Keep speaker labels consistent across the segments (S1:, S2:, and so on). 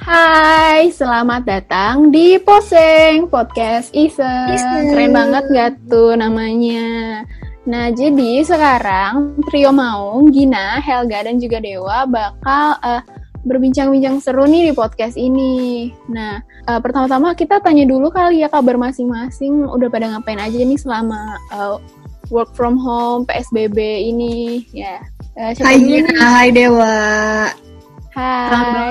S1: Hai, selamat datang di Poseng Podcast Iseng.
S2: Iseng.
S1: Keren banget gak tuh namanya? Nah, jadi sekarang Trio Maung, Gina, Helga, dan juga Dewa bakal eh, berbincang-bincang seru nih di podcast ini. Nah, eh, pertama-tama kita tanya dulu kali ya kabar masing-masing udah pada ngapain aja nih selama eh, work from home, PSBB ini ya. Eh, siapa
S2: Hai
S1: dulu
S2: Gina,
S1: nih?
S2: hai Dewa.
S1: Hai.
S3: Ah.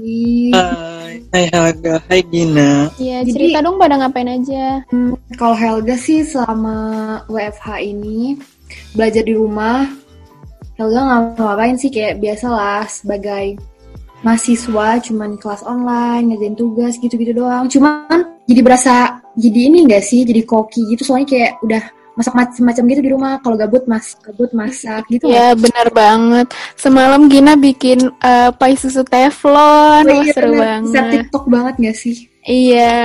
S3: Hai, hai Helga, hai Gina.
S1: Iya,
S2: Jadi-
S1: cerita dong pada ngapain aja.
S2: Hmm, Kalau Helga sih selama WFH ini belajar di rumah, Helga nggak ngapain sih kayak biasalah sebagai mahasiswa cuman kelas online ngerjain tugas gitu-gitu doang cuman jadi berasa jadi ini enggak sih jadi koki gitu soalnya kayak udah masak macam-macam gitu di rumah kalau gabut mas gabut masak gitu nggak
S1: Iya, benar banget. Semalam Gina bikin eh, pai susu teflon.
S2: sih?
S1: Wah, Iya, seru
S2: Bener, Oh iya, bisa
S1: banget.
S2: TikTok banget gak sih?
S1: Iya.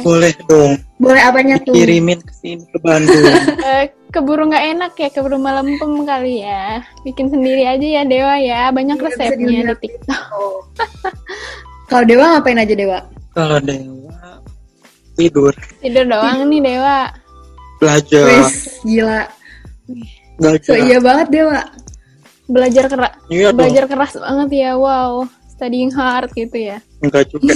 S3: Boleh dong
S2: Boleh apanya tuh?
S3: dikirimin ke sini ke Bandung.
S1: Eh, keburu nggak enak ya, keburu melempem kali ya. Bikin sendiri aja ya Dewa ya. Banyak
S2: Iya, bisa
S1: resepnya di
S2: dilihat.
S1: TikTok.
S2: Oh. Kalau Dewa ngapain aja Dewa?
S3: Kalau Dewa tidur,
S1: Tidur doang nih Dewa.
S3: belajar,
S2: Wes, gila. So
S3: belajar.
S2: iya banget Dewa.
S1: Belajar keras,
S3: Iya dong,
S1: belajar keras banget ya. Wow, studying hard gitu ya.
S3: enggak juga.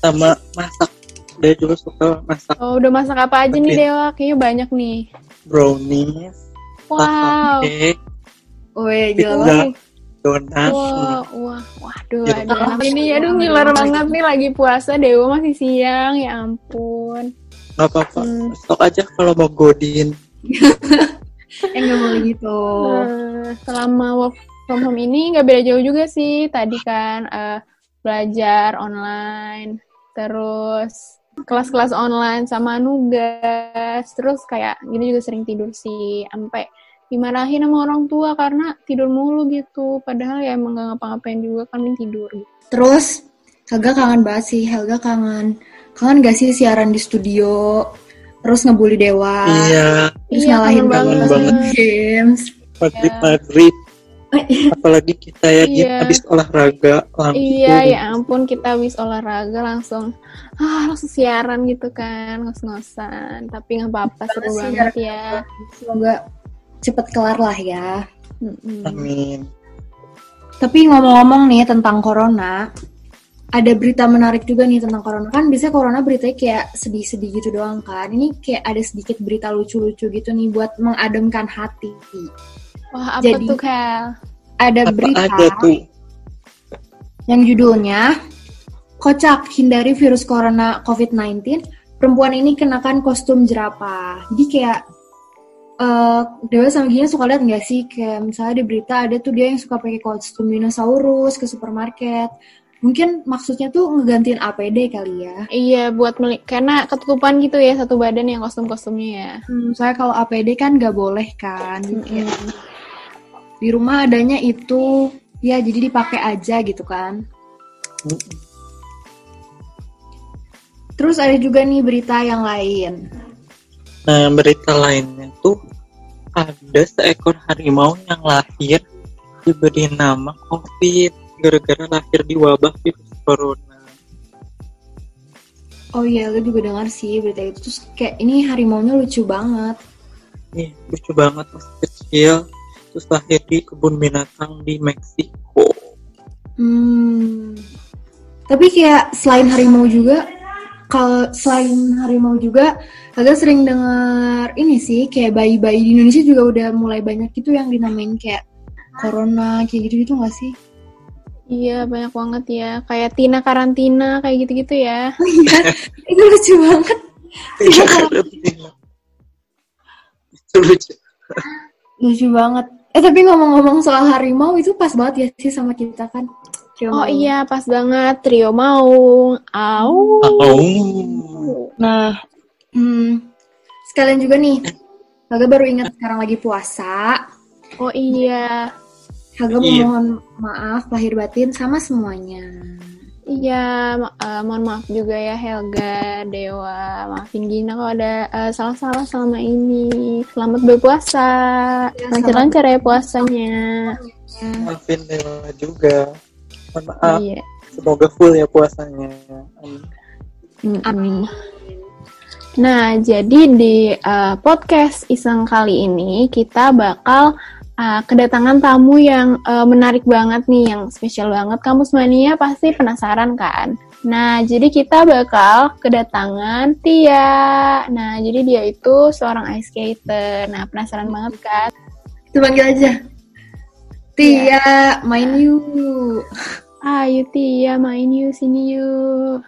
S3: Sama masak. Dia juga suka masak
S1: Oh, udah masak apa aja nih
S3: Oke.
S1: Dewa? Kayaknya banyak nih.
S3: brownies,
S2: Ah,
S1: Wow.
S3: cake,
S2: Weh, gila
S3: pizza,
S2: banget.
S3: donat.
S1: Wah, wah, waduh,
S3: Gitu.
S1: aduh, ini aduh ngiler banget nih lagi puasa Dewa masih siang, ya ampun.
S3: Gak apa-apa,
S1: Hmm.
S3: stok aja kalau mau godin.
S2: Eh, nggak boleh gitu.
S1: Nah, selama work from home ini nggak beda jauh juga sih. Tadi kan eh, belajar online, terus kelas-kelas online sama nugas, terus kayak gini juga sering tidur sih, sampai dimarahin sama orang tua karena tidur mulu gitu. Padahal ya emang nggak ngapa-ngapain juga kan mending tidur. gitu.
S2: Terus, Helga kangen banget sih. Helga kangen. Kangen gak sih siaran di studio? Terus ngebully
S1: Ah.
S2: Dewa.
S3: Iya,
S2: Terus
S1: Iya,
S2: ngalahin
S1: kangen
S2: Dewa
S3: banget.
S2: main games.
S3: maghrib-maghrib. Apalagi kita ya, Gin,
S1: Ya. Iya.
S3: habis olahraga langsung.
S1: Iya, ya ampun kita wis olahraga langsung ah langsung siaran gitu kan, ngos-ngosan. Tapi nggak apa-apa seru
S2: Terus
S1: banget
S2: siaran.
S1: ya.
S2: Semoga cepet kelar lah ya.
S1: Mm-mm.
S3: Amin.
S2: Tapi ngomong-ngomong nih tentang corona, ada berita menarik juga nih tentang corona. Kan biasanya corona beritanya kayak sedih-sedih gitu doang kan. Ini kayak ada sedikit berita lucu-lucu gitu nih buat mengademkan hati.
S1: Wah, apa
S2: Jadi-
S1: tuh, Kel?
S2: Ada
S3: Apa
S2: berita
S3: aja tuh?
S2: yang judulnya Kocak hindari virus corona COVID-19. Perempuan ini kenakan kostum jerapah. Jadi kayak eh Dewa sama Gina suka lihat nggak sih kayak misalnya di berita ada tuh dia yang suka pakai kostum dinosaurus ke supermarket. Mungkin maksudnya tuh ngegantiin APD kali ya.
S1: Iya, buat meli karena ketutupan gitu ya satu badan yang kostum-kostumnya ya.
S2: Hmm, saya kalau APD kan nggak boleh kan. Jadi kayak
S1: Mm-mm.
S2: Di rumah adanya itu ya jadi dipakai aja gitu kan. Terus ada juga nih berita yang lain.
S3: Nah, berita lainnya tuh ada seekor harimau yang lahir diberi nama COVID gara-gara lahir di wabah virus corona.
S2: Oh iya, gue juga dengar sih berita itu. Terus kayak ini harimaunya lucu banget.
S3: Nih, lucu banget masih kecil terus lahir di kebun binatang di Meksiko.
S2: Hmm. Tapi kayak selain harimau juga, kalau selain harimau juga, agak sering dengar ini sih kayak bayi-bayi di Indonesia juga udah mulai banyak gitu yang dinamain kayak corona kayak gitu-gitu gak sih?
S1: Iya, banyak banget ya. Kayak Tina karantina kayak gitu-gitu ya.
S2: Itu lucu banget. Iya.
S3: Itu lucu.
S2: Lucu banget. Eh tapi ngomong-ngomong soal harimau itu pas banget ya sih sama kita kan.
S1: Oh
S2: Harimau.
S1: iya, pas banget trio Maung. Au.
S3: Hmm. Oh,
S2: Nah, hmm, sekalian juga nih, Haga baru ingat sekarang lagi puasa.
S1: Oh iya.
S2: Haga
S3: Iya.
S2: memohon maaf lahir batin sama semuanya.
S1: Iya, ma- eh, mohon maaf juga ya Helga, Dewa, maafin Gina kalau ada eh, salah-salah selama ini. Selamat berpuasa,
S2: Ya,
S1: lancar-lancar ya puasanya.
S3: Maafin Dewa juga. Mohon maaf.
S1: Iya.
S3: Semoga full ya puasanya. Amin.
S1: Mm-mm. Nah, jadi di eh, podcast iseng kali ini kita bakal eh, kedatangan tamu yang eh, menarik banget nih, yang spesial banget. Kampus Mania ya pasti penasaran kan? Nah, jadi kita bakal kedatangan Tia. Nah, jadi dia itu seorang ice skater. Nah, penasaran banget kan?
S2: Itu panggil aja. Tia, main yuk.
S1: Ayo Tia, main yuk sini yuk.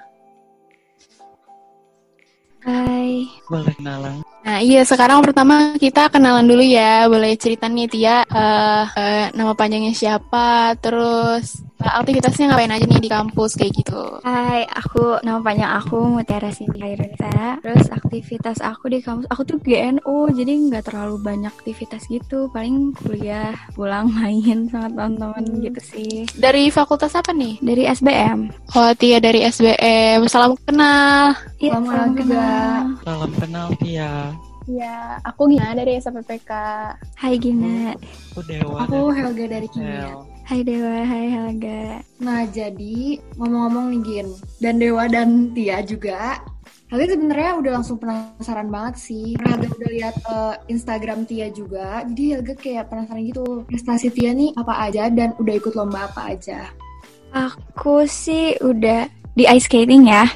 S1: Hai.
S3: Boleh kenalan.
S1: Nah iya sekarang pertama kita kenalan dulu ya Boleh cerita nih Tia eh, eh, Nama panjangnya siapa Terus eh, aktivitasnya ngapain aja nih di kampus kayak gitu
S4: Hai, aku nama panjang aku Mutiara Cindy Hairunita. Terus aktivitas aku di kampus, aku tuh GNO, jadi nggak terlalu banyak aktivitas gitu. Paling kuliah, pulang main sama teman-teman
S1: Hmm.
S4: gitu sih.
S1: Dari fakultas apa nih?
S4: Dari SBM.
S1: Oh Tia dari SBM Salam kenal
S4: Iya,
S2: Lama
S4: salam
S2: juga.
S4: kenal.
S3: Salam kenal Tia.
S1: Iya aku Gina dari SPPK
S4: Hai Gina.
S3: Aku Dewa.
S2: Aku
S3: dari
S2: Helga dari
S3: Sel.
S2: Kimia.
S4: Hai Dewa, hai Helga.
S2: Nah, jadi ngomong-ngomong nih Gin, dan Dewa dan Tia juga. Helga sebenarnya udah langsung penasaran banget sih. Karena Helga udah lihat eh, Instagram Tia juga. Jadi Helga kayak penasaran gitu. Prestasi Tia nih apa aja dan udah ikut lomba apa aja.
S4: Aku sih udah di ice skating ya.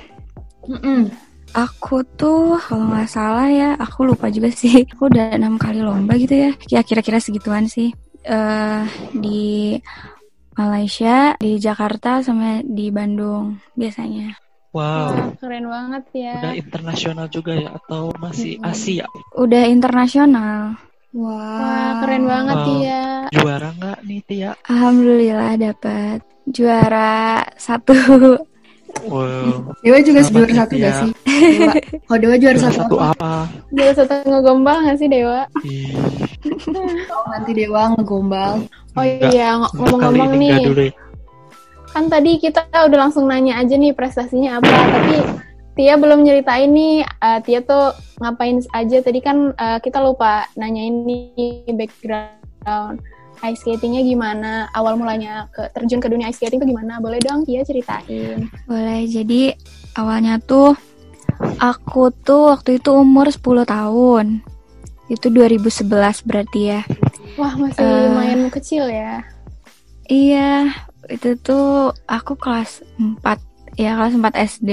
S2: Mm-mm.
S4: Aku tuh kalau nggak salah ya, aku lupa juga sih. Aku udah enam kali lomba gitu ya. Ya kira-kira segituan sih. eh di Malaysia, di Jakarta sama di Bandung biasanya.
S3: Wow.
S1: Wah, Keren banget ya
S3: Udah internasional juga ya atau masih
S2: Hmm.
S3: Asia?
S4: Udah internasional.
S2: Wah,
S1: Wah keren banget
S3: Wow.
S1: Tia
S3: Juara nggak nih Tia?
S4: Alhamdulillah dapat juara satu.
S3: Wow.
S2: Dewa juga juara
S3: Selamat ya,
S2: satu gak
S3: Tia.
S2: sih? Dewa. Kalau Dewa juara
S3: Juara
S2: satu,
S3: satu
S2: apa?
S3: apa?
S1: Dia satu ngegombal gak sih Dewa?
S3: Ih,
S2: nanti Dewa ngegombal.
S1: Oh
S3: enggak.
S1: iya ng-
S3: Untuk kali
S1: ngomong-ngomong
S3: ini
S1: nih
S3: enggak dulu ya.
S1: kan tadi kita udah langsung nanya aja nih prestasinya apa tapi Tia belum nyeritain nih eh, Tia tuh ngapain aja tadi kan eh, kita lupa nanyain nih background ice skatingnya gimana awal mulanya ke terjun ke dunia ice skating tuh gimana boleh dong Tia ceritain
S4: Boleh jadi awalnya tuh aku tuh waktu itu umur 10 tahun. Itu 2011 berarti ya.
S1: wah masih
S4: Eh.
S1: main kecil ya
S4: Iya, itu tuh aku kelas 4 ya kelas 4 SD.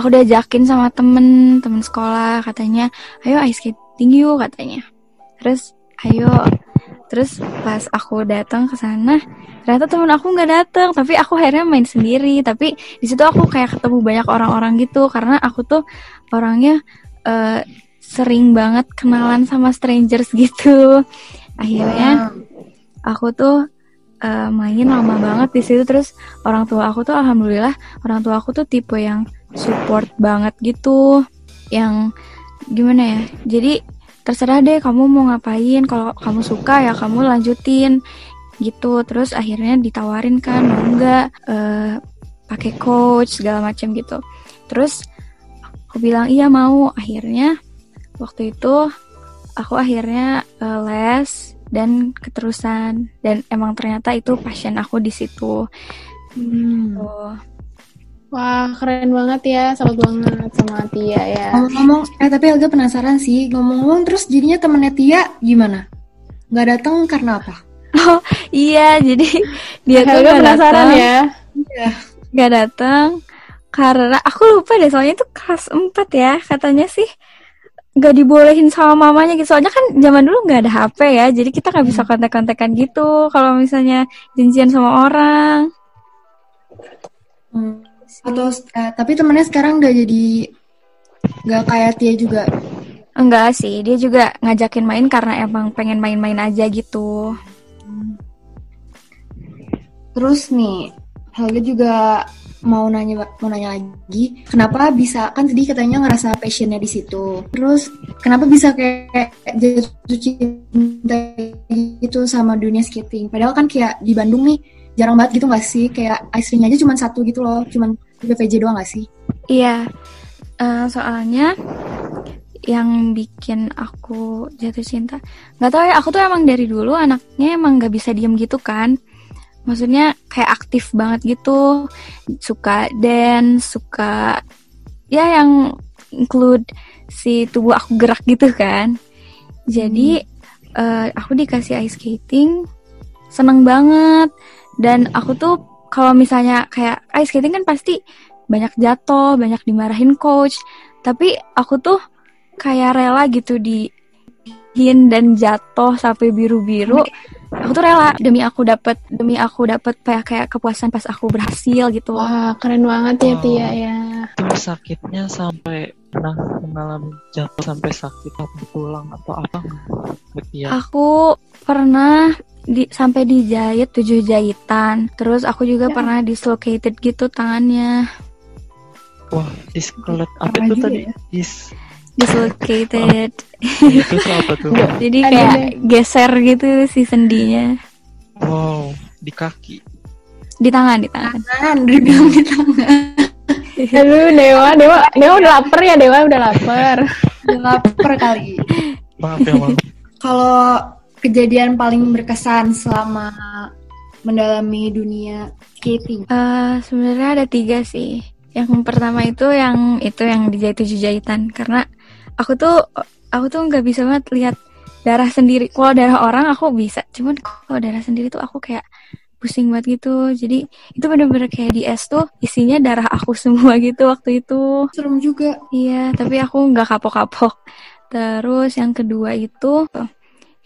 S4: Aku diajakin sama temen temen sekolah katanya, "Ayo ice skating yuk," katanya. Terus ayo Terus pas aku datang ke sana, ternyata temen aku nggak datang, tapi aku akhirnya main sendiri. Tapi di situ aku kayak ketemu banyak orang-orang gitu, karena aku tuh orangnya eh, sering banget kenalan sama strangers gitu. Akhirnya aku tuh eh, main lama banget di situ terus orang tua aku tuh alhamdulillah orang tua aku tuh tipe yang support banget gitu yang gimana ya jadi terserah deh kamu mau ngapain kalau kamu suka ya kamu lanjutin gitu terus akhirnya ditawarin kan mau nggak eh, pakai coach segala macam gitu terus aku bilang iya mau akhirnya waktu itu aku akhirnya eh, les dan keterusan dan emang ternyata itu passion aku di situ.
S2: Hmm.
S4: Tuh.
S1: wah keren banget ya salut banget sama Tia ya
S2: Ngomong-ngomong, eh tapi Elga penasaran sih. Ngomong-ngomong terus jadinya temennya Tia gimana? Gak datang karena apa?
S4: Iya, jadi dia tuh
S1: Iya, Helga
S4: gak
S1: penasaran
S4: datang,
S1: ya
S4: gak datang karena aku lupa deh soalnya itu kelas 4 ya katanya sih gak dibolehin sama mamanya gitu soalnya kan zaman dulu nggak ada HP ya jadi kita nggak
S1: Hmm.
S4: bisa kontak-kontakan gitu kalau misalnya janjian sama orang
S2: Hmm. Atau eh, tapi temennya sekarang udah jadi gak kayak Tia juga.
S4: enggak sih dia juga ngajakin main karena emang pengen main-main aja gitu
S2: Terus nih, Helga juga mau nanya mau nanya lagi, kenapa bisa kan tadi katanya ngerasa passionnya di situ. Terus kenapa bisa kayak jatuh cinta gitu sama dunia skating? Padahal kan kayak di Bandung nih jarang banget gitu nggak sih? Kayak ice ringnya aja cuma satu gitu loh, cuman di PPJ doang nggak sih?
S4: Iya, eh, soalnya yang bikin aku jatuh cinta nggak tahu ya aku tuh emang dari dulu anaknya emang nggak bisa diem gitu kan maksudnya kayak aktif banget gitu suka dance suka ya yang include si tubuh aku gerak gitu kan jadi eh, aku dikasih ice skating seneng banget dan aku tuh kalau misalnya kayak ice skating kan pasti banyak jatuh banyak dimarahin coach tapi aku tuh kayak rela gitu di hin dan jatuh sampai biru-biru aku tuh rela demi aku dapat demi aku dapat kayak kayak kepuasan pas aku berhasil gitu
S1: Wah, keren banget ya
S3: Wow.
S1: Tia ya.
S3: Itu sakitnya sampai pernah mengalami jatuh sampai sakit atau tulang atau apa nggak? Betia.
S4: Ah, aku pernah di, sampai dijahit tujuh jahitan terus aku juga
S2: Ya.
S4: pernah dislocated gitu tangannya
S3: Wah, diskelet apa
S2: Parah
S3: itu
S2: juga
S3: tadi?
S2: ya.
S3: Dis.
S4: dislocated
S3: itu tuh apa tuh?
S4: jadi
S1: Ada
S4: kayak geser gitu si sendinya
S3: Wow, di kaki.
S4: di tangan di tangan
S2: Kan, udah bilang di tangan.
S1: Aduh, Dewa, Dewa, Dewa udah lapar ya, Dewa udah lapar.
S2: Udah lapar kali.
S3: Maaf ya, Mam.
S2: Kalau kejadian paling berkesan selama mendalami dunia skating.
S4: Eh, sebenarnya ada tiga sih. Yang pertama itu yang itu yang dijahit tujuh jahitan karena aku tuh aku tuh nggak bisa banget lihat darah sendiri. Kalau darah orang aku bisa, cuman kalau darah sendiri tuh aku kayak pusing banget gitu. Jadi itu bener-bener kayak di es tuh isinya darah aku semua gitu waktu itu.
S2: Serem juga.
S4: Iya, tapi aku nggak kapok-kapok. Terus yang kedua itu, eh,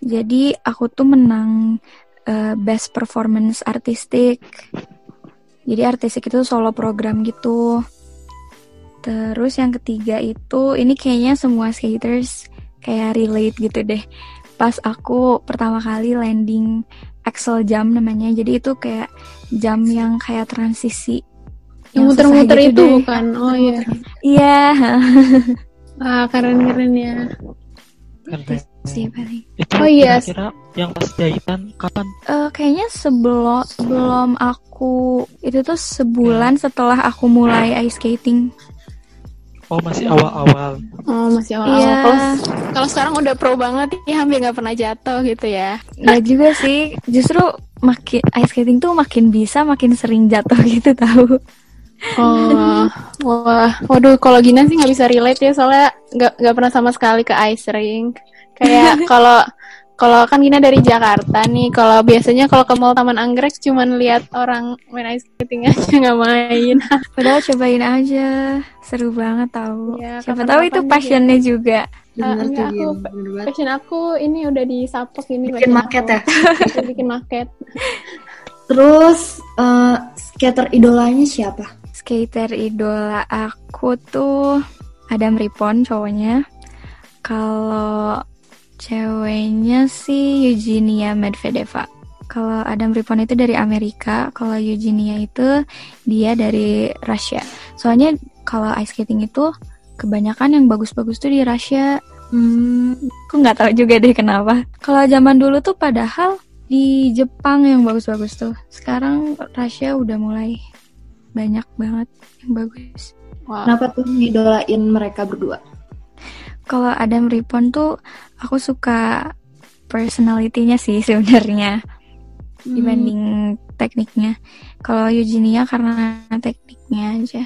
S4: jadi aku tuh menang eh, Best Performance Artistik. Jadi artistik itu solo program gitu. Terus yang ketiga itu, ini kayaknya semua skaters kayak relate gitu deh. Pas aku pertama kali landing axel jam namanya, jadi itu kayak jam yang kayak transisi.
S1: Yang
S4: Yang susah
S1: muter-muter
S4: gitu
S1: itu
S4: deh.
S1: bukan. Oh iya.
S4: Iya,
S1: Ah, keren-keren ya.
S3: Keren.
S4: sih paling.
S3: Itu
S1: Oh, iya.
S3: kira-kira yang pas jahitan kapan?
S4: Eh, kayaknya sebelum sebelum aku itu tuh sebulan setelah aku mulai ice skating.
S3: Oh, masih awal-awal.
S1: Oh, masih awal-awal.
S4: Iya,
S1: Kalau Kalau sekarang udah pro banget, ya hampir nggak pernah jatuh gitu ya.
S4: nggak juga sih. Justru makin ice skating tuh makin bisa, makin sering jatuh gitu tahu.
S1: Oh, wah, waduh, kalau Gina sih nggak bisa relate ya, soalnya nggak nggak pernah sama sekali ke ice rink. Kayak kalau kalau kan Gina dari Jakarta nih, kalau biasanya kalau ke Mall Taman Anggrek cuman lihat orang main ice skating aja nggak main.
S4: Padahal cobain aja, seru banget tahu.
S1: Iya,
S4: Siapa
S1: kapan-kapan
S4: tahu itu
S1: juga.
S4: passionnya juga.
S1: Ah, enggak,
S2: Bener tuh, Gin.
S1: aku-
S2: Bener banget.
S1: Passion aku ini udah disapok ini.
S2: Bikin
S1: passion
S2: market
S1: aku.
S2: ya.
S1: Aku Bikin market.
S2: Terus eh, skater idolanya siapa?
S4: Skater idola aku tuh Adam Rippon cowoknya. Kalau ceweknya sih Eugenia Medvedeva. Kalau Adam Rippon itu dari Amerika, kalau Eugenia itu dia dari Rusia. Soalnya kalau ice skating itu kebanyakan yang bagus-bagus tuh di Rusia. Hmm, aku nggak tahu juga deh kenapa. Kalau zaman dulu tuh padahal di Jepang yang bagus-bagus tuh. Sekarang Rusia udah mulai banyak banget yang bagus.
S1: Wah,
S2: Kenapa tuh ngidolain mereka berdua?
S4: Kalau Adam Rippon tuh aku suka personalitinya sih sebenarnya
S2: Hmm.
S4: dibanding tekniknya. Kalau Eugenia karena tekniknya aja.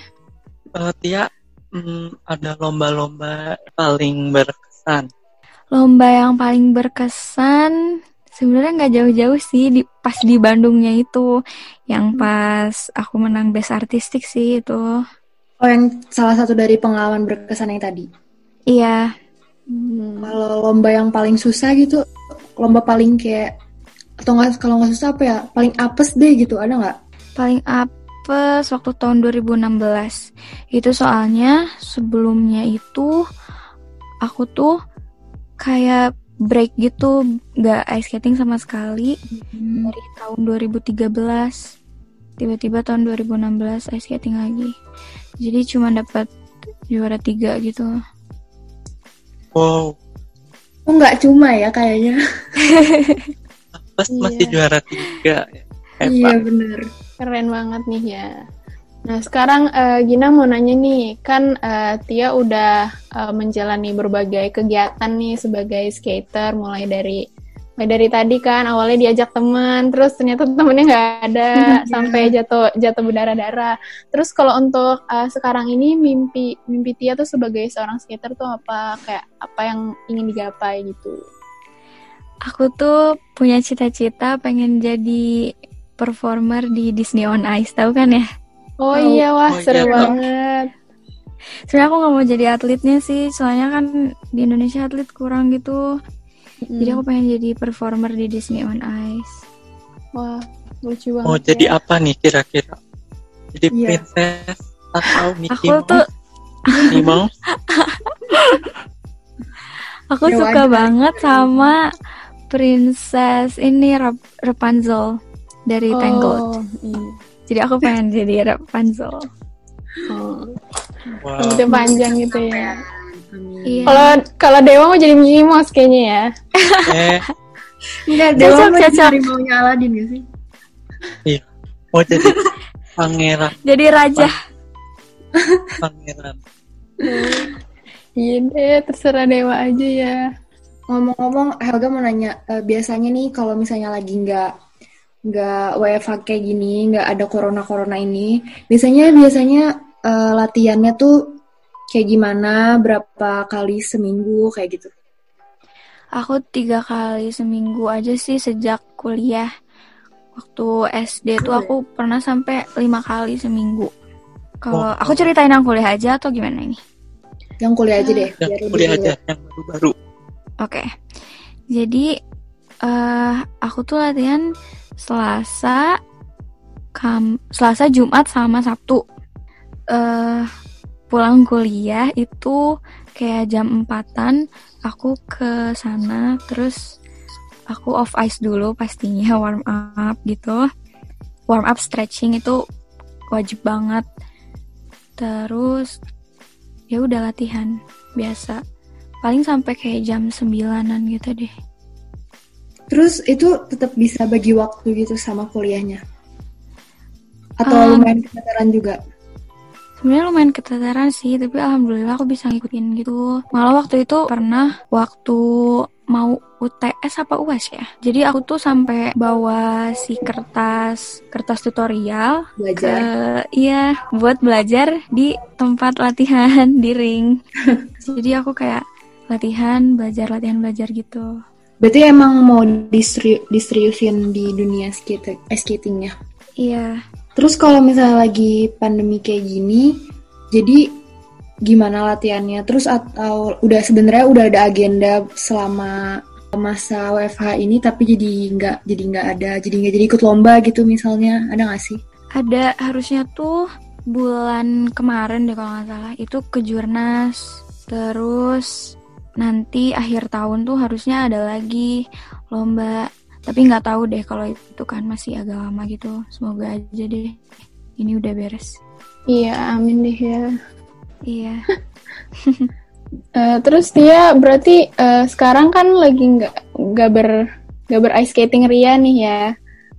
S3: Eh, Tia, hmm, ada lomba-lomba paling berkesan.
S4: Lomba yang paling berkesan sebenarnya nggak jauh-jauh sih di pas di Bandungnya itu yang pas aku menang best artistik sih itu.
S2: Oh, yang salah satu dari pengalaman berkesan yang tadi.
S4: Iya,
S1: hmm.
S2: Kalau lomba yang paling susah gitu, lomba paling kayak atau enggak kalau nggak susah apa ya? Paling apes deh gitu, ada nggak?
S4: paling apes waktu tahun 2016. Itu soalnya sebelumnya itu aku tuh kayak break gitu, nggak ice skating sama sekali
S2: Hmm.
S4: dari tahun 2013. Tiba-tiba tahun 2016 ice skating lagi. Jadi cuma dapat juara tiga gitu.
S3: Wow,
S2: Oh, nggak cuma ya kayaknya.
S3: pas
S1: Iya.
S3: masih juara tiga. ya. Eh, have
S2: Iya
S3: fun.
S2: bener.
S1: Keren banget nih ya. Nah sekarang eh, Gina mau nanya nih, kan eh, Tia udah eh, menjalani berbagai kegiatan nih sebagai skater, mulai dari mulai dari tadi kan awalnya diajak teman, terus ternyata temennya nggak ada, sampai jatuh jatuh berdarah-darah. Terus kalau untuk eh, sekarang ini mimpi mimpi Tia tuh sebagai seorang skater tuh apa kayak apa yang ingin digapai gitu?
S4: Aku tuh punya cita-cita pengen jadi performer di Disney on Ice, tahu kan ya?
S1: Oh,
S4: Oh,
S1: iya wah
S3: oh
S1: seru
S3: iya, Kak.
S1: banget.
S4: Sebenarnya aku nggak mau jadi atletnya sih, soalnya kan di Indonesia atlet kurang gitu. Jadi
S1: Hmm,
S2: Hmm.
S4: aku pengen jadi performer di Disney on Ice.
S1: Wah lucu banget. ya.
S3: Mau Oh, jadi apa nih kira-kira? Jadi
S2: Iya.
S3: princess atau Mickey
S4: Aku
S3: Mouse?
S4: tuh
S3: Mickey Mouse?
S4: Aku
S2: Ya,
S4: suka
S2: wajar.
S4: banget sama princess ini Rap- Rapunzel dari Tangled.
S1: Oh, iya.
S4: Jadi aku pengen jadi Rapunzel.
S1: Oh,
S3: Wow.
S1: rambutnya
S4: Um,
S1: panjang gitu
S2: Iya.
S1: ya.
S2: Amin.
S4: Iya.
S1: Kalau kalau Dewa mau jadi Mickey Mouse kayaknya ya.
S3: Eh,
S2: Enggak, dia
S4: Cocok,
S2: sama
S4: cocok.
S2: dari maunya Aladin gak sih?
S3: mau jadi pangeran,
S4: Jadi raja.
S3: pangeran.
S1: Iya deh, terserah Dewa aja ya.
S2: Ngomong-ngomong, Helga mau nanya, eh, biasanya nih kalau misalnya lagi nggak nggak WFH kayak gini, nggak ada corona-corona ini, biasanya biasanya eh, latihannya tuh kayak gimana, berapa kali seminggu kayak gitu.
S4: Aku tiga kali seminggu aja sih sejak kuliah. Waktu SD tuh aku pernah sampai lima kali seminggu. Kalau
S3: Wow.
S4: aku ceritain yang kuliah aja atau gimana ini?
S2: Yang kuliah aja deh.
S3: Yang
S4: iya,
S2: biar lebih
S3: kuliah aja,
S2: relate.
S3: yang baru-baru.
S4: Oke. Jadi eh aku tuh latihan Selasa, Kam, Selasa, Jumat sama Sabtu. Eh pulang kuliah itu kayak jam empatan aku ke sana terus aku off ice dulu pastinya warm up gitu. Warm up stretching itu wajib banget. Terus ya udah latihan biasa paling sampai kayak jam sembilanan gitu deh
S2: Terus itu tetap bisa bagi waktu gitu sama kuliahnya. Atau
S4: Eh,
S2: lumayan keteteran juga.
S4: sebenarnya lumayan keteteran sih tapi alhamdulillah aku bisa ngikutin gitu malah waktu itu pernah waktu mau UTS apa UAS ya jadi aku tuh sampai bawa si kertas kertas tutorial ke
S2: Belajar.
S4: iya buat belajar di tempat latihan di ring jadi aku kayak latihan belajar latihan belajar gitu
S2: Berarti emang mau diseri- diseriusin di dunia skate eh, skatingnya.
S4: iya
S2: Terus kalau misalnya lagi pandemi kayak gini, jadi gimana latihannya? Terus atau udah sebenarnya udah ada agenda selama masa WFH ini tapi jadi nggak jadi nggak ada jadi nggak jadi ikut lomba gitu misalnya ada nggak sih?
S4: ada harusnya tuh bulan kemarin deh kalau nggak salah itu ke Jurnas terus nanti akhir tahun tuh harusnya ada lagi lomba tapi nggak tahu deh kalau itu kan masih agak lama gitu semoga aja deh ini udah beres
S1: Iya, amin deh ya.
S4: iya
S1: Eh, terus Tia berarti eh, sekarang kan lagi nggak nggak ber nggak ber ice skating Ria nih ya.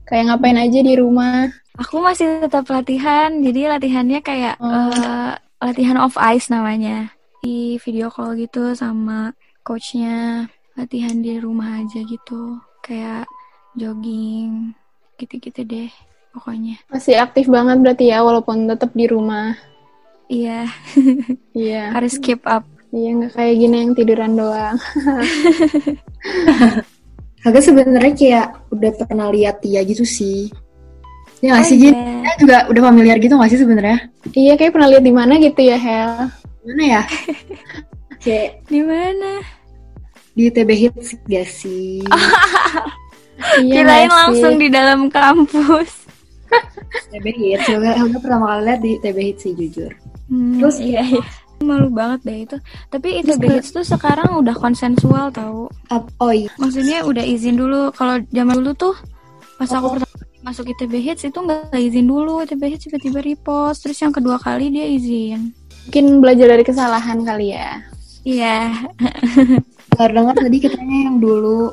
S1: Kayak ngapain aja di rumah.
S4: aku masih tetap latihan jadi latihannya kayak
S1: Oh.
S4: eh, latihan off ice namanya di video call gitu sama coachnya latihan di rumah aja gitu kayak jogging gitu-gitu deh pokoknya
S1: Masih aktif banget berarti ya walaupun tetap di rumah.
S4: iya
S1: Iya.
S4: harus keep up
S1: Iya nggak kayak gini yang tiduran doang.
S2: Agak sebenarnya kayak udah pernah lihat Tia gitu sih. Ya nggak sih,
S4: Oh,
S1: gitu?
S2: Jin?
S4: iya.
S2: Tia juga udah familiar gitu nggak sih sebenarnya?
S1: Iya kayak pernah lihat di mana gitu ya Hel.
S2: Gimana ya? kayak
S4: di mana
S2: di TB Hits gak sih?
S4: Oh.
S1: Iya nggak
S4: kirain
S1: sih?
S4: langsung di dalam kampus
S2: TB Hits, Helga, Helga pertama kali lihat di TB Hits sih jujur.
S4: Hmm,
S2: Terus
S4: iya, iya. malu banget deh itu tapi itu hits tuh sekarang udah konsensual tau
S2: Ap- oh iya,
S4: Maksudnya Oh. udah izin dulu. Kalau zaman dulu tuh pas aku pertama kali masuk ITB Hits itu nggak izin dulu. ITB Hits tiba-tiba repost. Terus yang kedua kali dia izin.
S1: Mungkin belajar dari kesalahan kali ya.
S4: Iya.
S2: dengar dengar tadi katanya yang dulu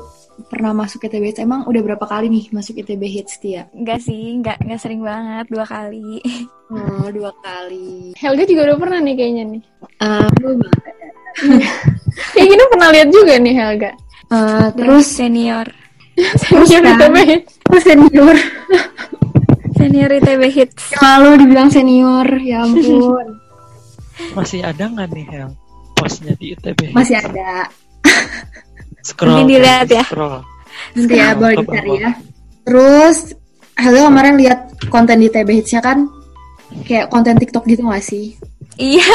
S2: pernah masuk ITB Hits, emang udah berapa kali nih masuk ITB Hits, Tia?
S4: Enggak sih, enggak enggak sering banget, dua kali.
S2: Oh, dua kali.
S1: Helga juga udah pernah nih kayaknya nih.
S2: Eh, belum banget.
S1: Kayak gini pernah lihat juga nih Helga.
S2: Eh,
S4: Terus
S2: terus,
S4: senior.
S1: Terus
S2: kan? terus senior.
S4: Senior ITB hits.
S2: Lalu dibilang senior, ya ampun.
S3: Masih ada nggak nih Hel? Posnya di ITB.
S2: Masih ada.
S3: Scroll.
S4: Mungkin dilihat
S3: Hel,
S4: ya.
S3: Scroll.
S2: Nanti ya,
S3: Mantap,
S2: boleh dicari
S3: Abang.
S2: ya. Terus, Helga kemarin lihat konten di TB Hitsnya kan, kayak konten TikTok gitu gak sih?
S4: Iya,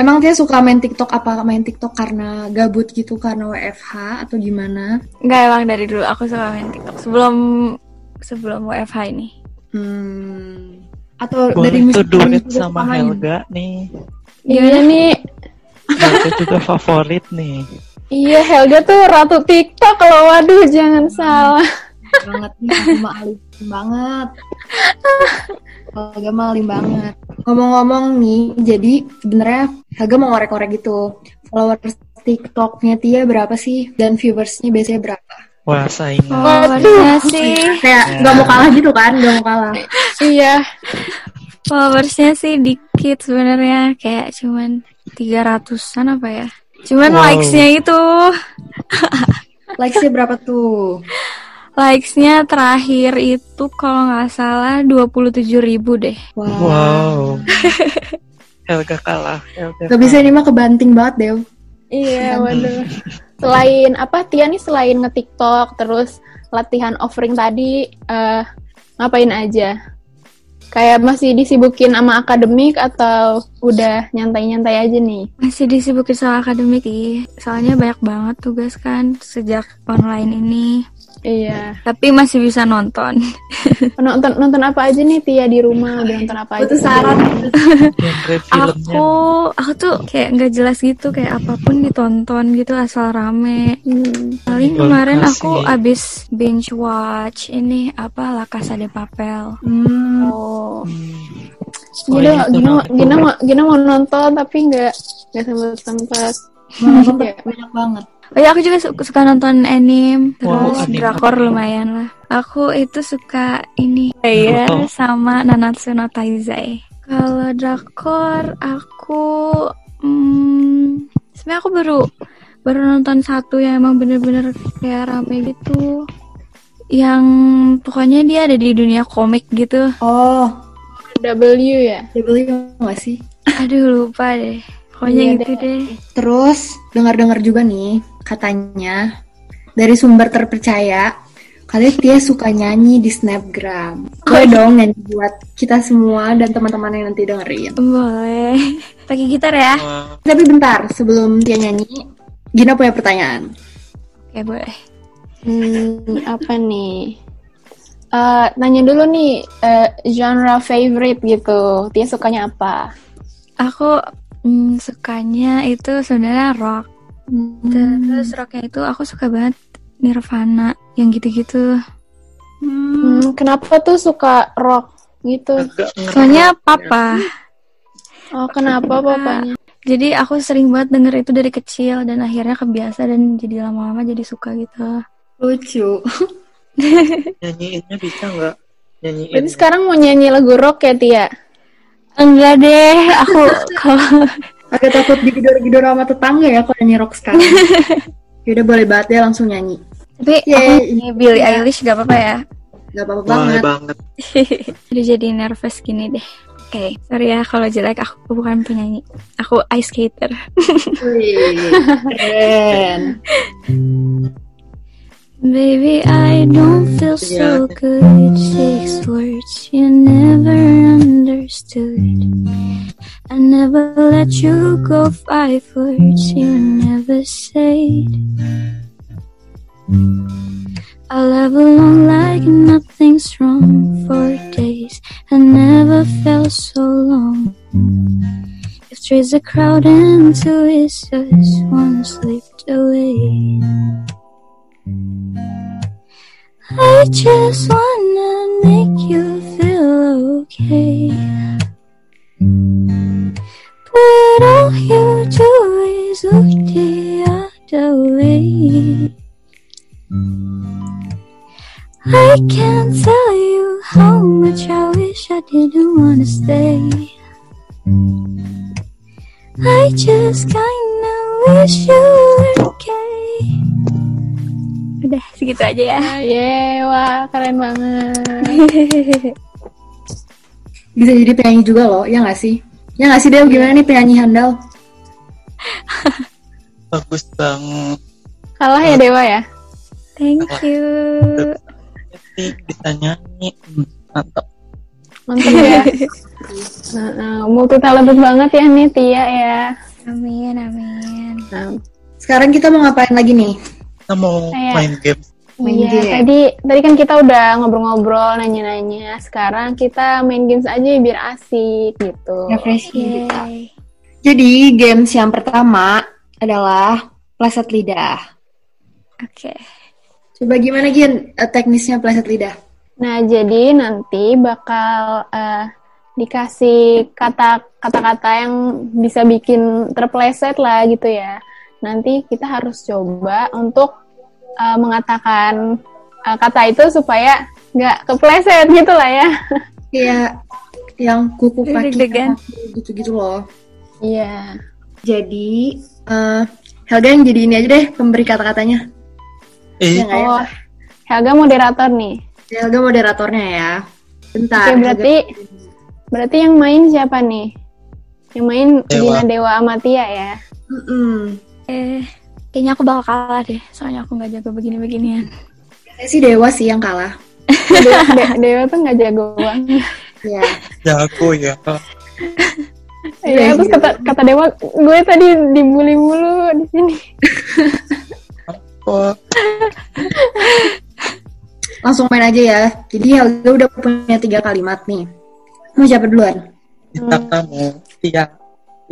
S2: Emang dia suka main TikTok apa main TikTok karena gabut gitu karena WFH atau gimana?
S4: enggak emang dari dulu aku suka main TikTok sebelum sebelum WFH ini.
S2: Hmm. Atau dari
S3: Boleh
S2: musik
S3: tuh duet
S2: musik
S3: sama
S2: utamanya?
S3: Helga nih.
S1: Iya nih.
S3: Helga juga favorit nih.
S1: Iya Helga tuh ratu TikTok kalau waduh jangan salah.
S2: banget nih sama alim banget. Helga mah alim banget. Ngomong-ngomong nih, jadi sebenarnya Helga mau ngorek-ngorek gitu. Followers TikToknya Tia berapa sih? Dan viewersnya biasanya berapa?
S3: Wah saingan.
S4: Followersnya Iya sih,
S2: Kayak
S3: Ya.
S2: nggak mau kalah gitu kan? Nggak mau kalah.
S1: iya.
S4: followersnya sih dikit sebenarnya kayak cuman 300-an apa ya. Cuman
S3: Wow.
S4: likes-nya itu,
S2: Likesnya berapa tuh?
S4: likes-nya terakhir itu kalau nggak salah 27 ribu deh.
S3: Wow. Helga kalah. Helga
S2: Gak bisa ini mah kebanting banget deh.
S1: Iya waduh. Selain apa Tia nih selain nge-TikTok terus latihan offering tadi eh ngapain aja? Kayak masih disibukin sama akademik atau udah nyantai-nyantai aja nih?
S4: Masih disibukin soal akademik sih. Soalnya banyak banget tugas kan sejak online ini.
S1: Iya.
S4: Tapi masih bisa nonton.
S1: Nonton nonton apa aja nih Tia di rumah? Udah nonton apa aja?
S2: Butuh saran.
S3: Genre filmnya.
S4: Aku aku tuh kayak nggak jelas gitu kayak apapun ditonton gitu asal rame.
S1: Hmm.
S4: Paling
S3: Terima
S4: kemarin
S3: kasih.
S4: aku abis binge watch ini apa La Casa de Papel.
S2: Hmm,
S1: Oh.
S3: Hmm.
S1: Gina,
S3: Oh, iya, itu
S1: Gina,
S3: nonton.
S1: Gina, mau, Gina mau nonton tapi nggak nggak sempat sempat.
S2: nonton
S1: Iya.
S2: banyak banget.
S4: Oh ya aku juga su- suka nonton anime terus
S3: Wow, anime.
S4: drakor lumayan lah. Aku itu suka ini Slayer
S3: Naruto.
S4: sama Nanatsu no Taizai. Kalau drakor aku hmm, sebenarnya aku baru baru nonton satu yang emang bener-bener kayak rame gitu. Yang pokoknya dia ada di dunia komik gitu.
S2: Oh,
S1: W ya.
S2: W nggak sih?
S4: Aduh lupa deh.
S1: Iya
S4: Pokoknya gitu deh.
S2: Terus dengar-dengar juga nih katanya dari sumber terpercaya kalian dia suka nyanyi di snapgram. Boleh dong nyanyi buat kita semua dan teman-teman yang nanti dengerin.
S4: Boleh. Pakai gitar ya?
S3: Wah,
S2: Tapi bentar sebelum dia nyanyi, Gina punya pertanyaan.
S4: Oke, boleh.
S1: Hmm, apa nih? Eh, nanya dulu nih eh, genre favorite gitu. Tia sukanya apa?
S4: Aku mm, sukanya itu sebenarnya rock. Hmm. Terus rocknya itu aku suka banget Nirvana yang gitu-gitu.
S1: Hmm, kenapa tuh suka rock gitu?
S3: agak ngerti.
S4: Soalnya papa.
S1: Oh, kenapa papanya?
S4: Jadi aku sering banget denger itu dari kecil dan akhirnya kebiasa dan jadi lama-lama jadi suka gitu.
S2: Lucu.
S3: nyanyiinnya bisa nggak? Nyanyiin.
S1: Berarti sekarang mau nyanyi lagu rock ya Tia?
S4: Enggak deh, aku kalau
S2: Agak takut digedor-gedor sama tetangga ya kalau nyanyi rock sekarang. Yaudah boleh banget ya langsung nyanyi.
S4: tapi aku
S2: Yeay.
S4: ini Billie Eilish gak apa-apa ya.
S2: Gak apa-apa
S3: Boleh
S2: banget.
S3: banget.
S4: Udah jadi nervous gini deh. Oke, sorry ya kalau jelek aku bukan penyanyi. Aku ice skater.
S2: Wih, Keren.
S4: Baby, I don't feel so good. Six words you never understood. I never let you go. Five words you never said. I love alone like nothing's wrong for days. I never felt so long. If three's a crowd and two is us, one slipped away. I just wanna make you feel okay. But all you do is look the other way.
S5: I can't tell you how much I wish I didn't wanna stay. I just kinda wish you were okay.
S4: Udah segitu aja ya.
S1: Yeay, wah keren banget.
S2: Bisa jadi penyanyi juga loh, ya nggak sih? Ya nggak sih, Dew? Gimana nih penyanyi handal?
S3: bagus banget
S1: Kalah ya Dewa ya?
S4: Thank you.
S3: sih bisa nyanyi Hmm, mantap
S1: Mantap ya. Nah, multi talented banget ya nih Tia ya.
S4: Amin, amin.
S1: Nah,
S2: Sekarang kita mau ngapain lagi nih?
S3: kita mau
S1: Kayak-
S2: Iya.
S3: main game
S2: Main
S1: iya,
S2: game.
S1: tadi tadi kan kita udah ngobrol-ngobrol, nanya-nanya. Sekarang kita main games aja ya, biar asik gitu.
S2: Iya, Refreshing.
S4: Yay.
S2: Jadi games yang pertama adalah pleset lidah.
S4: Oke.
S2: Coba gimana Gin eh, teknisnya pleset lidah?
S1: Nah, jadi nanti bakal eh, dikasih kata kata-kata yang bisa bikin terpleset lah gitu ya. Nanti kita harus coba untuk eh, mengatakan eh, kata itu supaya nggak kepleset gitu lah ya.
S2: Kayak Iya, yang kuku
S4: Aduh,
S2: kaki
S4: deg-degan.
S2: kaki, gitu-gitu loh.
S1: Iya.
S2: Jadi eh, Helga yang jadi ini aja deh pemberi kata-katanya.
S3: eh
S2: Ya nggak ya?
S1: Oh, Helga moderator nih.
S2: Helga moderatornya ya. Bentar.
S1: Oke,
S2: Helga-
S1: berarti berarti yang main siapa nih? Yang main
S3: Dewa.
S1: Dina Dewa Amatia ya.
S2: Mm-mm.
S4: Eh, kayaknya aku bakal kalah deh. Soalnya aku nggak jago begini-beginian.
S2: Saya sih Dewa sih yang kalah.
S1: Dewa, De- Dewa tuh nggak jago banget.
S2: Ya.
S3: jago ya
S1: Iya, terus kata kata Dewa, gue tadi dibully mulu di sini.
S3: oh
S2: Langsung main aja ya. Jadi Helga udah punya tiga kalimat nih. Mau siapa duluan?
S3: kita
S2: Hmm.
S3: kamu iya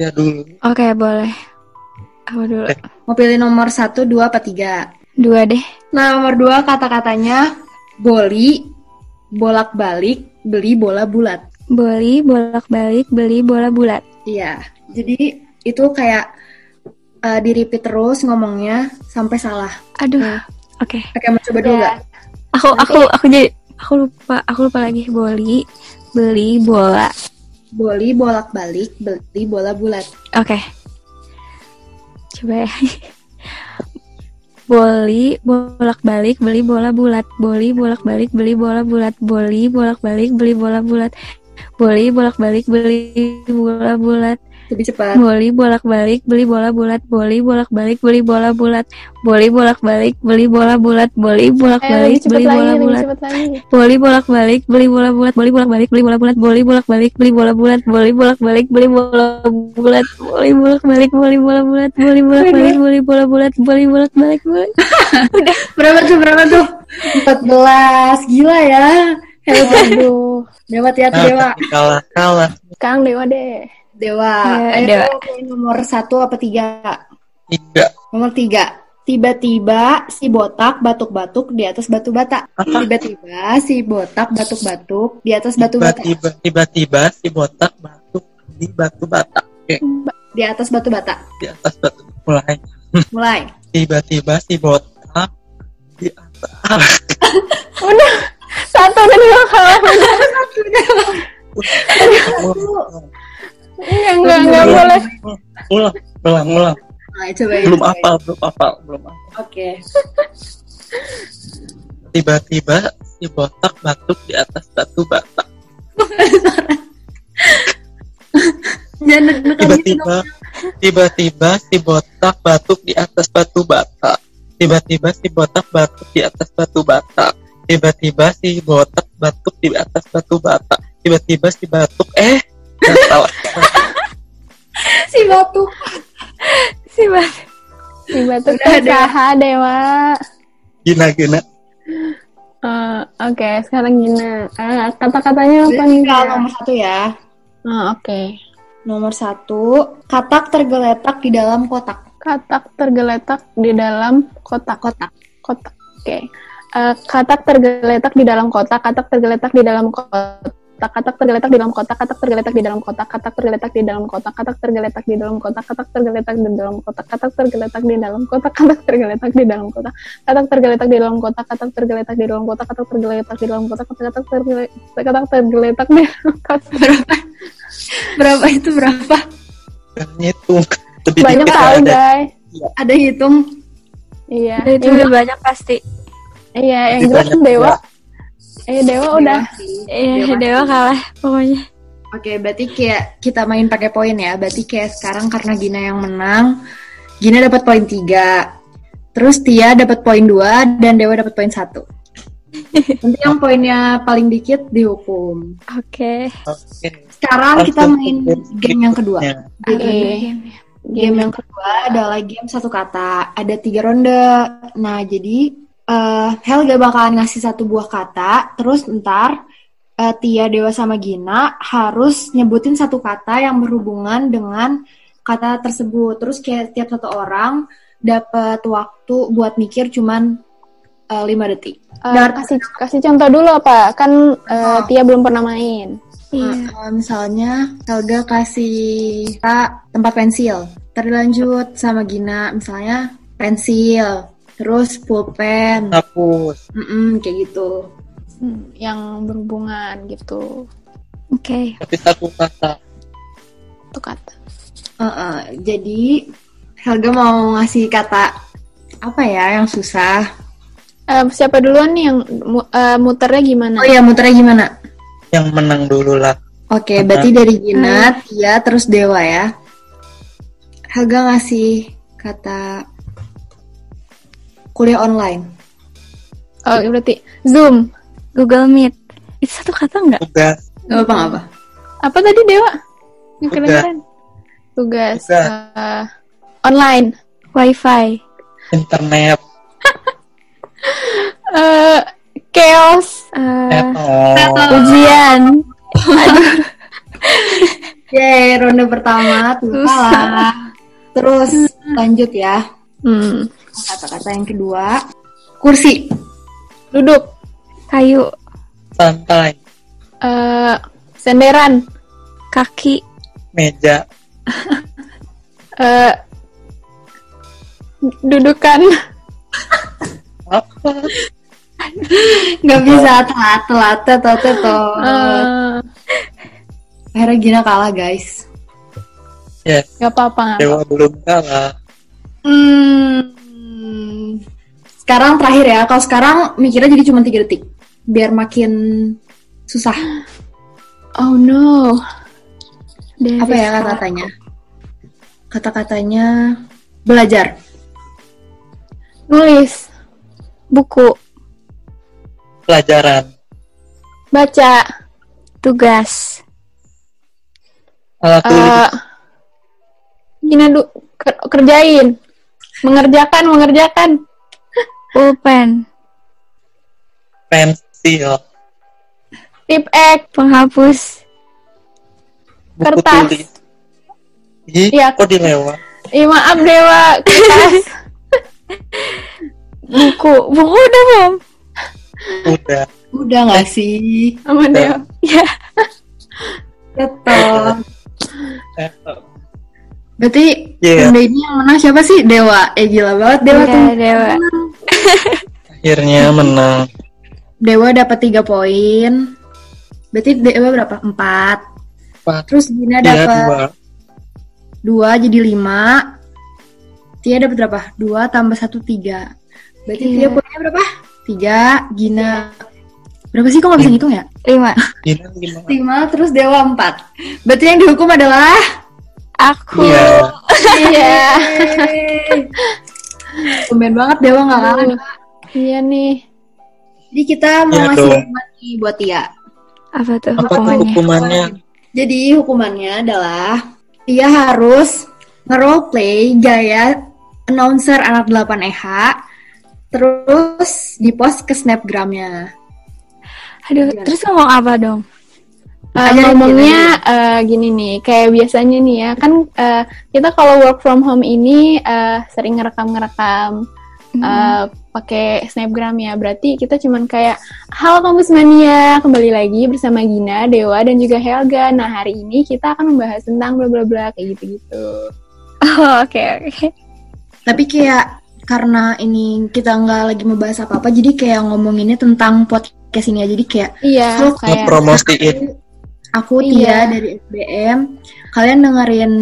S3: iya dulu
S4: Oke, boleh. Aku dulu.
S3: Eh.
S2: Mau pilih nomor satu, dua, apa tiga?
S4: Dua deh.
S2: Nah, nomor dua kata-katanya boli, bolak-balik, beli bola bulat.
S4: Beli bolak-balik, beli bola bulat.
S2: Iya. Jadi itu kayak eh di-repeat terus ngomongnya sampai salah.
S4: Aduh.
S2: Hmm.
S4: Oke.
S2: Oke, mau coba dulu
S1: Iya.
S2: nggak?
S4: Aku aku aku jadi aku lupa aku lupa lagi boli beli bola.
S2: Boli, bolak-balik, beli bola bulat.
S4: Oke. Coba ya. Boli bolak-balik beli bola bulat. Boli bolak-balik beli bola bulat. Boli bolak-balik beli bola bulat. Boli bolak-balik beli bola bulat.
S2: Lebih cepat.
S4: Boli bolak-balik beli bola bulat. Boli bolak-balik beli bola bulat. Boli bolak-balik beli bola bulat.
S1: Eh,
S4: Boli
S1: lebih
S4: bolak-balik
S1: cepet
S4: beli
S1: lagi,
S4: bola
S1: lebih
S4: bulat.
S1: cepet lagi.
S4: Boli bolak-balik beli bola bulat. Boli bolak-balik beli bola bulat. Boli bolak-balik beli bola bulat. Boli bolak-balik beli bola bulat. Boli bolak-balik beli bola bulat. Boli bolak-balik beli bola bulat. Boli bolak-balik boli.
S2: Berapa tuh? Berapa tuh? 14. Gila ya. Hebat.
S1: Aduh,
S2: Dewa ya
S3: Nah,
S2: Dewa.
S3: tapi kalah kalah
S1: Kang Dewa deh.
S2: Dewa.
S4: Iya,
S2: Ayo,
S4: Dewa.
S2: nomor satu apa tiga?
S3: tiga
S2: Nomor tiga, tiba-tiba si botak batuk-batuk di atas batu bata. Tiba-tiba si botak batuk-batuk di atas batu bata.
S3: tiba-tiba tiba-tiba si botak batuk di batu bata oke
S2: Di atas batu bata.
S3: di atas batu mulai
S2: Mulai.
S3: tiba-tiba si botak di atas
S1: Satu tadi lo kalah.
S3: ulang
S1: Iya, nggak nggak boleh.
S3: ulang ulang ulang
S2: Mulai coba ya,
S3: belum
S2: coba ya.
S3: apal belum apal belum apal.
S2: Oke.
S3: tiba-tiba si botak batuk di atas batu bata
S2: Jangan deg-degan gitu dong.
S3: tiba-tiba tiba-tiba si botak batuk di atas batu bata tiba-tiba si botak batuk di atas batu bata tiba-tiba si botak batuk di atas batu bata tiba-tiba si batuk eh nggak salah
S2: Si batu.
S4: Si Mas.
S1: Tiba tuh
S2: Udah, Dewa.
S1: usaha Dewa.
S3: gina gina
S1: Eh, Oke, sekarang Gina. Eh, kata-katanya apa nih?
S2: Tinggal
S1: Gina?
S2: nomor satu ya.
S1: Ah, Oke.
S2: Nomor satu, katak tergeletak di dalam kotak.
S1: Katak tergeletak di dalam kotak.
S2: Kotak.
S1: Kotak. Oke. Eh, katak tergeletak di dalam kotak. Katak tergeletak di dalam kotak. kotak, katak tergeletak di dalam kotak, katak tergeletak di dalam kotak, katak tergeletak di dalam kotak, katak tergeletak di dalam kotak, katak tergeletak di dalam kotak, katak tergeletak di dalam kotak, katak tergeletak di dalam kotak, katak tergeletak di dalam kotak, katak tergeletak di dalam kotak, katak tergeletak di dalam kotak, katak katak tergeletak, katak tergeletak di dalam kotak.
S4: berapa berapa itu berapa
S3: Nggak ngitung lebih
S1: Banyak
S3: dikit
S1: tahu,
S3: ada
S1: guys.
S2: Ada hitung
S1: Iya.
S4: itu
S1: Iya,
S4: udah banyak pasti
S1: Iya, yang
S3: Lebih
S1: jelas
S3: banyak
S1: Dewa. Eh, Dewa udah.
S4: iya Oh, dewa kalah pokoknya
S2: Oke, berarti kayak kita main pakai poin ya. Berarti kayak sekarang karena Gina yang menang, Gina dapat poin 3. Terus Tia dapat poin 2 dan Dewa dapat poin 1. Nanti yang poinnya paling dikit dihukum.
S4: oke
S3: Oke.
S2: Sekarang kan kita main game yang kedua.
S3: Ya.
S1: Oke.
S2: Game yang kedua adalah game satu kata. Ada tiga ronde. Nah, jadi eh, Helga bakalan ngasih satu buah kata. Terus ntar eh, Tia, Dewa, sama Gina harus nyebutin satu kata yang berhubungan dengan kata tersebut. Terus kayak tiap satu orang dapat waktu buat mikir cuman eh, lima detik.
S1: Eh,
S2: Dar-
S1: kasih kasih contoh dulu apa? Kan eh, Tia belum pernah main.
S4: iya
S2: Eh, misalnya Helga kasih kita tempat pensil. Terlanjut sama Gina misalnya pensil, terus pulpen,
S3: Hapus.
S2: Mm-mm, kayak gitu.
S1: Hmm, yang berhubungan gitu.
S4: oke
S3: Tapi satu kata.
S1: Tuh kata.
S2: Eh, eh, jadi Helga mau ngasih kata apa ya yang susah?
S1: Eh, siapa duluan nih yang mu- eh, muternya gimana?
S2: Oh iya muternya gimana?
S3: Yang menang dulu lah.
S2: Oke, berarti dari Gina, Tia, terus Dewa ya. Helga ngasih kata kuliah online.
S1: Oh, berarti Zoom.
S4: Google Meet itu satu kata nggak
S3: Tugas.
S2: Gak apa-apa.
S1: Apa tadi Dewa? Nggak
S3: Tugas.
S1: kedengeran. Tugas.
S3: Tugas.
S1: eh, online.
S4: WiFi
S3: Internet.
S1: eh chaos.
S4: eh,
S3: Oh.
S4: ujian
S2: Yeay, ronde pertama tuh
S4: Susah.
S2: kalah. Terus lanjut ya.
S1: Hmm.
S2: Kata-kata yang kedua. Kursi.
S1: Duduk.
S4: kayu
S3: Santai.
S1: eh senderan.
S4: kaki
S3: Meja.
S1: eh dudukan.
S3: Apa?
S2: Gak bisa telat, telat, telat, telat.
S1: eh
S2: Akhirnya Gina kalah guys.
S3: Yes.
S1: gak apa-apa. nggak apa-apa.
S3: Dewa belum kalah.
S2: Hmm. Sekarang terakhir ya. Kalau sekarang mikirnya jadi cuma 3 detik. Biar makin susah.
S1: Oh no.
S4: dari
S2: Apa ya kata-katanya? Kata-katanya belajar.
S1: Nulis.
S4: buku
S3: Pelajaran.
S1: Baca.
S4: tugas
S3: Alat tulis.
S1: eh gini du- ker- kerjain. Mengerjakan, mengerjakan.
S4: pulpen
S3: Pensil.
S1: Tip X.
S4: penghapus
S3: Buku
S1: Kertas.
S3: tulis. Ih,
S1: Iya.
S3: kok dilewat?
S1: Ih, Ya, maaf Dewa. Kertas.
S4: buku buku udah belum
S3: Udah.
S2: Udah gak sih?
S1: Sama Dewa.
S4: ya
S2: Betul.
S3: Eh,
S2: Berarti
S3: Iya.
S2: ronde ini yang menang siapa sih? Dewa. Eh gila banget Dewa
S4: Iya,
S2: tuh.
S4: Dewa.
S2: menang.
S3: Akhirnya menang.
S2: Dewa dapat 3 poin. Berarti Dewa berapa? 4.
S3: Empat.
S2: Terus Gina
S3: Dia
S2: dapat
S3: Iya, dua.
S2: 2 jadi 5. Tia dapat berapa? 2 tambah 1 3. Berarti Tia
S4: Iya.
S2: poinnya berapa? 3, Gina. Berapa sih kok gak bisa ngitung ya?
S4: lima
S3: Dina Iya, lima.
S2: 5 terus Dewa 4. Berarti yang dihukum adalah
S4: aku
S3: Iya.
S1: Iya.
S2: Tumben banget Dewa gak kalah.
S1: Aduh. Iya nih.
S2: Jadi kita mau
S3: Iya
S2: ngasih
S3: dong.
S2: hukuman nih buat Tia.
S4: apa tuh
S3: Apa tuh
S4: hukumannya
S3: hukumannya?
S2: Jadi hukumannya adalah dia harus nge-role play gaya announcer anak 8 EH terus dipost ke snapgramnya.
S4: aduh terus ngomong apa dong
S1: Eh,
S2: Ajarin
S1: ngomongnya eh, gini nih, kayak biasanya nih ya, kan eh, kita kalau work from home ini eh, sering ngerekam-ngerekam
S4: Hmm.
S1: eh, pakai snapgram ya. Berarti kita cuman kayak halo kampus mania kembali lagi bersama Gina, Dewa dan juga Helga. Nah hari ini kita akan membahas tentang bla bla bla kayak gitu gitu.
S4: Oh, oke oke.
S2: Tapi kayak karena ini kita nggak lagi membahas apa-apa, jadi kayak ngomonginnya tentang podcast ini aja. Jadi kayak
S1: Iya
S2: Terus
S1: kayak
S3: Ngepromosiin.
S2: aku
S1: Iya.
S2: Tia dari SBM, kalian dengerin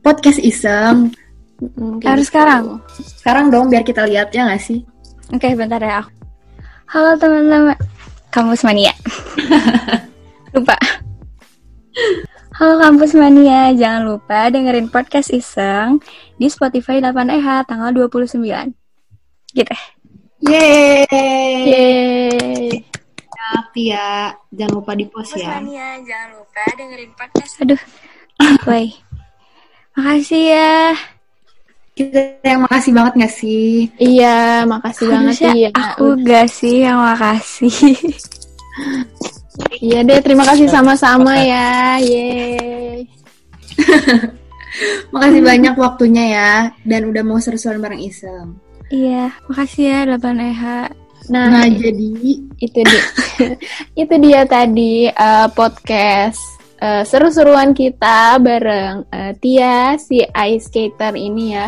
S2: podcast iseng.
S1: mm, kayak
S4: Harus
S1: gitu.
S4: sekarang?
S2: Sekarang dong biar kita lihat ya nggak sih?
S4: Oke, bentar ya aku. Halo teman-teman Kampus Mania. lupa. Halo Kampus Mania, jangan lupa dengerin podcast Iseng di Spotify 8EH tanggal 29. Gitu.
S2: Yeay.
S1: Yeay.
S2: Tia, jangan lupa di post
S1: Iya.
S2: ya.
S4: Mania, jangan lupa dengerin podcast. Aduh. Woi. Makasih ya.
S2: Kita yang makasih banget nggak sih?
S1: Iya, makasih banget
S4: Harusnya
S1: ya.
S4: Aku gak sih yang makasih.
S1: Iya deh, terima kasih sama-sama ya. Yeay.
S2: Makasih
S1: Hmm.
S2: banyak waktunya ya dan udah mau seru-seruan bareng Iseng.
S4: Iya, makasih ya 8EH.
S1: Nah,
S2: Nah, jadi
S1: itu dia. itu dia tadi eh, podcast eh, seru-seruan kita bareng eh, Tia si ice skater ini ya.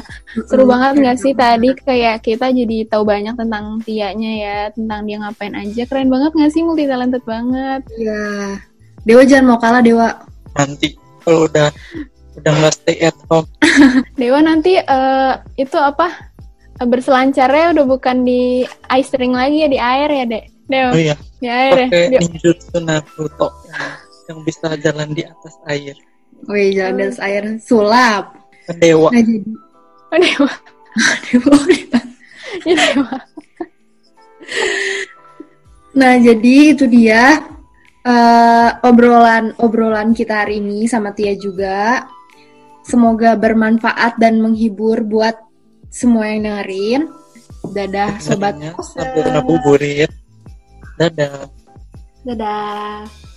S1: Seru
S2: Hmm.
S3: Hmm.
S1: banget nggak sih tadi kayak kita jadi tahu banyak tentang Tianya ya, tentang dia ngapain aja. Keren banget nggak sih multi talented banget.
S2: Iya. Dewa jangan mau kalah Dewa.
S3: nanti kalau udah udah nggak stay at home
S1: Dewa nanti eh, itu apa? eh, berselancarnya udah bukan di ice ring lagi ya di air ya, Dek. Dewa.
S3: oh iya
S1: Di air ya.
S3: pakai
S1: Di-
S3: ninjutsu Naruto yang, yang bisa jalan di atas air Kan
S2: Wih, jalan
S1: Hmm.
S2: di atas air sulap.
S3: dewa
S2: Nah, jadi
S1: Oh, Dewa.
S2: Dewa.
S1: Iya, Dewa.
S2: Nah, jadi itu dia eh, obrolan obrolan kita hari ini sama Tia juga. Semoga bermanfaat dan menghibur buat semua yang dengerin. Dadah Iya,
S3: Iya,
S2: sobat.
S3: Sebenarnya sambil ngabuburit dadah
S2: Dadah.